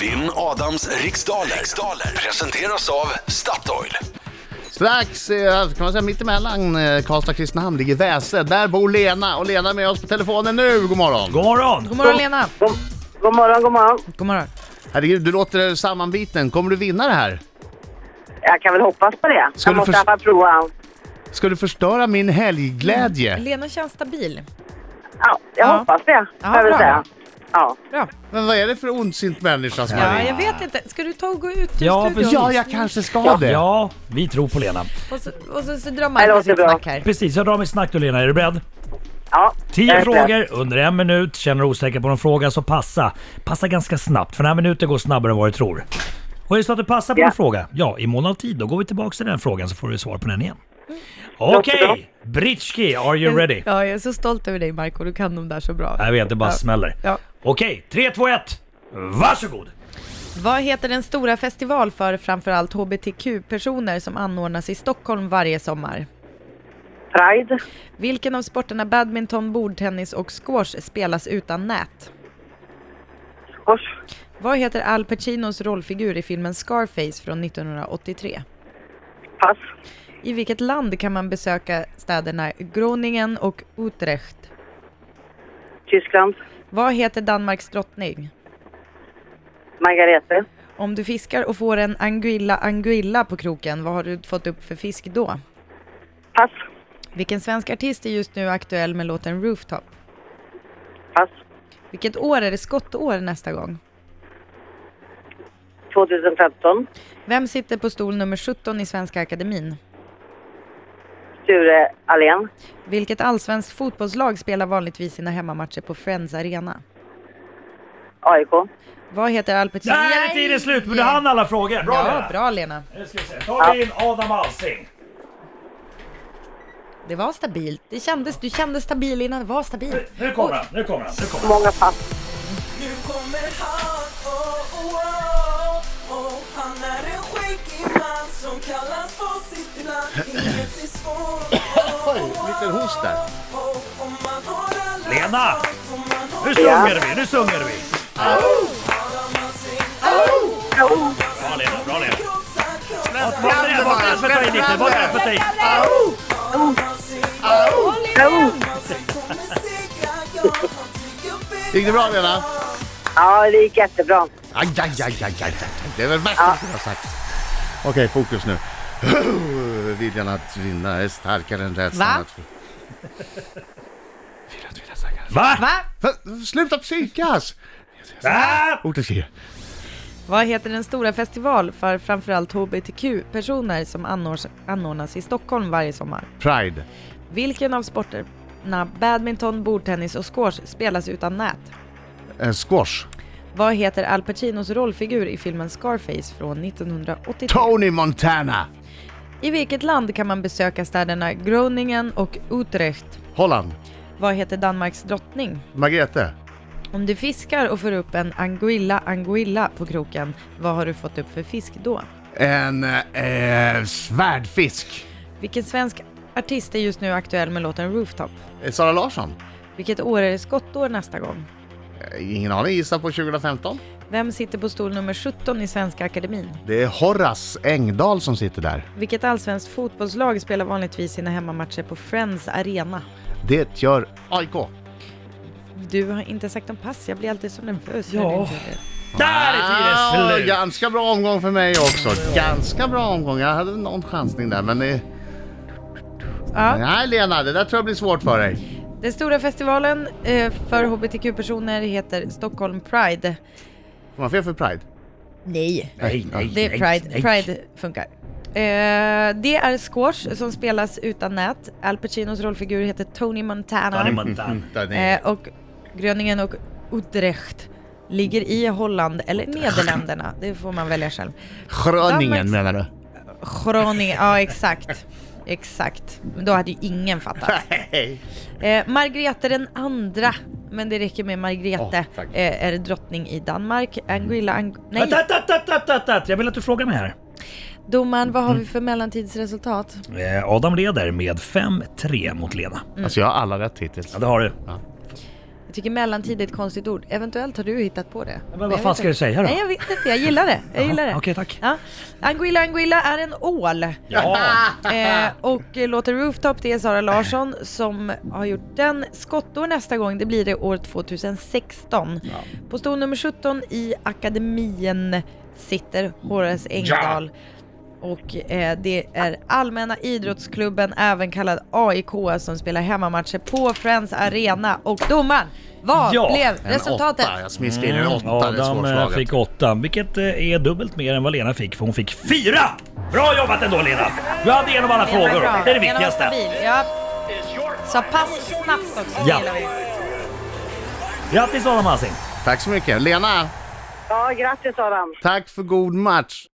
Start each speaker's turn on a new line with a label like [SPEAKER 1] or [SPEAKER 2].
[SPEAKER 1] Vinn Adams riksdaler. riksdaler presenteras av Statoil.
[SPEAKER 2] Strax, eh, kan man säga mittemellan eh, Karlstad och Kristinehamn ligger Väse. Där bor Lena och Lena är med oss på telefonen nu. God morgon!
[SPEAKER 3] God morgon!
[SPEAKER 4] God morgon Lena!
[SPEAKER 5] God, god morgon, god morgon.
[SPEAKER 4] God morgon.
[SPEAKER 2] Herregud, du låter sammanbiten. Kommer du vinna det här?
[SPEAKER 5] Jag kan väl hoppas på det.
[SPEAKER 2] Ska
[SPEAKER 5] jag
[SPEAKER 2] du
[SPEAKER 5] måste i
[SPEAKER 2] förs-
[SPEAKER 5] alla fall prova allt.
[SPEAKER 2] Ska du förstöra min helgglädje?
[SPEAKER 4] Lena känns stabil.
[SPEAKER 5] Ja, jag
[SPEAKER 4] Ja.
[SPEAKER 5] hoppas det,
[SPEAKER 4] Ja,
[SPEAKER 5] får jag väl
[SPEAKER 4] bra.
[SPEAKER 5] säga. Ja.
[SPEAKER 4] Bra.
[SPEAKER 2] Men vad är det för ondsint människa som har
[SPEAKER 4] Ja,
[SPEAKER 2] ringt?
[SPEAKER 4] jag vet inte. Ska du ta och gå ut ur
[SPEAKER 3] Ja,
[SPEAKER 4] studion? Mm,
[SPEAKER 3] precis.
[SPEAKER 2] Ja, jag kanske ska det.
[SPEAKER 3] Ja, vi tror på Lena.
[SPEAKER 4] Och så, och så, så drar
[SPEAKER 5] Det
[SPEAKER 4] Marcus
[SPEAKER 5] låter
[SPEAKER 4] sitt
[SPEAKER 5] bra.
[SPEAKER 4] snack här.
[SPEAKER 3] Precis, jag drar mitt snack nu Lena. Är du beredd?
[SPEAKER 5] ja. jag
[SPEAKER 3] Tio
[SPEAKER 5] är beredd.
[SPEAKER 3] frågor under en minut. Känner du osäker på någon fråga så passa. Passa ganska snabbt, för den här minuten går snabbare än vad du tror. Och är det så att du passar på
[SPEAKER 5] Ja.
[SPEAKER 3] en fråga, ja, i mån av tid, då går vi tillbaka till den frågan så får du svar på den igen. Okej!
[SPEAKER 5] Mm. bra.
[SPEAKER 3] Britski, are you ready?
[SPEAKER 4] Mm. Ja, jag är så stolt över dig Marco. Du kan de där så bra.
[SPEAKER 3] Jag vet, det bara
[SPEAKER 4] Ja.
[SPEAKER 3] smäller.
[SPEAKER 4] Ja.
[SPEAKER 3] Okej, tre, två, ett. Varsågod!
[SPEAKER 4] Vad heter den stora festival för framförallt hbtq-personer som anordnas i Stockholm varje sommar?
[SPEAKER 5] Pride,
[SPEAKER 4] Vilken av sporterna badminton, bordtennis och squash spelas utan nät?
[SPEAKER 5] kors,
[SPEAKER 4] Vad heter Al Pacinos rollfigur i filmen Scarface från 1983?
[SPEAKER 5] pass,
[SPEAKER 4] I vilket land kan man besöka städerna Groningen och Utrecht?
[SPEAKER 5] Tyskland,
[SPEAKER 4] Vad heter Danmarks drottning?
[SPEAKER 5] Margarete,
[SPEAKER 4] Om du fiskar och får en anguilla anguilla på kroken, vad har du fått upp för fisk då?
[SPEAKER 5] pass,
[SPEAKER 4] Vilken svensk artist är just nu aktuell med låten Rooftop?
[SPEAKER 5] pass,
[SPEAKER 4] Vilket år är det skottår nästa gång?
[SPEAKER 5] 2015,
[SPEAKER 4] Vem sitter på stol nummer 17 i Svenska Akademin?
[SPEAKER 5] Sture Allén,
[SPEAKER 4] Vilket allsvenskt fotbollslag spelar vanligtvis sina hemmamatcher på Friends Arena?
[SPEAKER 5] AIK.
[SPEAKER 4] Vad heter Al Pacino?
[SPEAKER 3] Där är tiden slut, men du hann alla frågor. Bra
[SPEAKER 4] Ja,
[SPEAKER 3] Lena!
[SPEAKER 4] bra Lena.
[SPEAKER 3] Nu ska vi se. tar vi in Adam Alsing.
[SPEAKER 4] Det var stabilt. Det kändes, du kändes stabil innan det var stabilt.
[SPEAKER 3] Nu kommer han, nu kommer han, nu kommer han.
[SPEAKER 5] Många pass.
[SPEAKER 6] Nu kommer han, oh, oh, oh, oh. Han är en skäggig man som kallas på sitt namn Inget är svårt, oh, oh, oh,
[SPEAKER 2] liten host där.
[SPEAKER 6] oh. Om man har alla
[SPEAKER 3] Lena!
[SPEAKER 6] svar får man ha
[SPEAKER 3] Nu sjunger vi, nu sjunger vi.
[SPEAKER 6] Adam Alsing.
[SPEAKER 3] Bra Lena, bra Lena.
[SPEAKER 6] Krossa, krossa
[SPEAKER 3] Vad är det? Vad är det för dig Nisse? Vad är det för dig?
[SPEAKER 6] Adam Alsing. Adam Alsing kommer segra, ja Han tycker bäst
[SPEAKER 2] Gick det bra Lena?
[SPEAKER 5] Ja, det gick jättebra.
[SPEAKER 2] Aj, aj, aj, aj, aj. Det är väl värsta jag har sagt. Okej, fokus nu. Viljan att vinna är starkare än rädslan
[SPEAKER 4] Va?
[SPEAKER 2] att...
[SPEAKER 3] Va?
[SPEAKER 4] Va?
[SPEAKER 2] Va? Sluta psykas!
[SPEAKER 3] Va?
[SPEAKER 2] Ordet ger.
[SPEAKER 4] Vad heter den stora festival för framförallt hbtq-personer som anordnas, anordnas i Stockholm varje sommar?
[SPEAKER 2] Pride.
[SPEAKER 4] Vilken av sporterna badminton, bordtennis och squash spelas utan nät?
[SPEAKER 2] Eh, squash.
[SPEAKER 4] Vad heter Al Pacinos rollfigur i filmen Scarface från 1983?
[SPEAKER 2] Tony Montana.
[SPEAKER 4] I vilket land kan man besöka städerna Groningen och Utrecht?
[SPEAKER 2] Holland.
[SPEAKER 4] Vad heter Danmarks drottning?
[SPEAKER 2] Margrethe.
[SPEAKER 4] Om du fiskar och får upp en anguilla anguilla på kroken, vad har du fått upp för fisk då?
[SPEAKER 2] En eh, svärdfisk.
[SPEAKER 4] Vilken svensk artist är just nu aktuell med låten Rooftop?
[SPEAKER 2] Eh, Sara Larsson.
[SPEAKER 4] Vilket år är det skottår nästa gång?
[SPEAKER 2] Eh, Ingen aning, gissa på 2015.
[SPEAKER 4] Vem sitter på stol nummer 17 i Svenska Akademin?
[SPEAKER 2] Det är Horace Engdahl som sitter där.
[SPEAKER 4] Vilket allsvenskt fotbollslag spelar vanligtvis sina hemmamatcher på Friends Arena?
[SPEAKER 2] Det gör AIK.
[SPEAKER 4] Du har inte sagt om pass, jag blir alltid så nervös. när
[SPEAKER 3] Ja.
[SPEAKER 4] du inte gör det.
[SPEAKER 3] Där är tiden slut!
[SPEAKER 2] Ah, ganska bra omgång för mig också. Ganska bra omgång. Jag hade någon chansning där, men... Eh,
[SPEAKER 4] Ja.
[SPEAKER 2] Nej, Lena, det där tror jag blir svårt för dig.
[SPEAKER 4] Den stora festivalen eh, för hbtq-personer heter Stockholm Pride.
[SPEAKER 2] Får man fel för Pride?
[SPEAKER 4] Nej.
[SPEAKER 3] Nej, nej,
[SPEAKER 4] Det är
[SPEAKER 3] nej,
[SPEAKER 4] Pride.
[SPEAKER 3] nej.
[SPEAKER 4] Pride funkar. Eh, det är squash som spelas utan nät. Al Pacinos rollfigur heter Tony Montana.
[SPEAKER 3] Tony Montana.
[SPEAKER 2] Där ni-
[SPEAKER 4] Eh, och Gröningen och Utrecht ligger i Holland eller Nederländerna. Det får man välja själv.
[SPEAKER 2] Gröningen
[SPEAKER 4] Danmarks-
[SPEAKER 2] menar du?
[SPEAKER 4] Groningen, ja exakt. Exakt. Men då hade ju ingen fattat. Eh, Margrethe den andra, men det räcker med Margrethe,
[SPEAKER 2] Åh, tack.
[SPEAKER 4] eh, är drottning i Danmark. Anguilla, ang nej.
[SPEAKER 3] Vänta, vänta, vänta, vänta, vänta. Jag vill att du frågar mig här.
[SPEAKER 4] Domaren, vad har
[SPEAKER 3] Mm.
[SPEAKER 4] vi för mellantidsresultat?
[SPEAKER 3] Eh, Adam leder med 5-3 mot Lena. Mm.
[SPEAKER 2] Alltså jag har alla rätt hittills.
[SPEAKER 3] Ja, det har du.
[SPEAKER 4] Jag tycker mellantid är ett konstigt ord. Eventuellt har du hittat på det.
[SPEAKER 3] Men vad
[SPEAKER 4] jag
[SPEAKER 3] fan
[SPEAKER 4] vet
[SPEAKER 3] ska
[SPEAKER 4] inte.
[SPEAKER 3] du säga då?
[SPEAKER 4] Nej, jag vet inte. Jag gillar det. Jag
[SPEAKER 3] Jaha,
[SPEAKER 4] gillar det.
[SPEAKER 3] okej, tack.
[SPEAKER 4] Ja. Anguilla Anguilla är en ål.
[SPEAKER 3] Ja!
[SPEAKER 4] Eh, och eh, låter Rooftop, det är Sara Larsson som har gjort den. Skottår nästa gång, det blir det år 2016. På stol nummer 17 i akademien sitter Horace Engdahl. Och eh, det är Allmänna Idrottsklubben, även kallad AIK, som spelar hemmamatcher på Friends Arena. Och domaren, vad
[SPEAKER 3] Ja,
[SPEAKER 4] blev
[SPEAKER 2] En
[SPEAKER 4] resultatet?
[SPEAKER 2] åtta. Jag smiskade in en åtta. det är
[SPEAKER 3] Adam eh,
[SPEAKER 2] svårslaget.
[SPEAKER 3] fick åtta, vilket eh, är dubbelt mer än vad Lena fick, för hon fick fyra! Bra jobbat ändå Lena! Du hade igenom alla
[SPEAKER 4] Den var
[SPEAKER 3] frågor,
[SPEAKER 4] bra.
[SPEAKER 3] det är det
[SPEAKER 4] Den var
[SPEAKER 3] viktigaste.
[SPEAKER 4] stabil, Ja. Så pass snabbt också, det
[SPEAKER 3] Ja.
[SPEAKER 4] gillar vi.
[SPEAKER 3] Grattis Adam Alsing!
[SPEAKER 2] Tack så mycket. Lena,
[SPEAKER 5] Ja, grattis Adam.
[SPEAKER 2] tack för god match.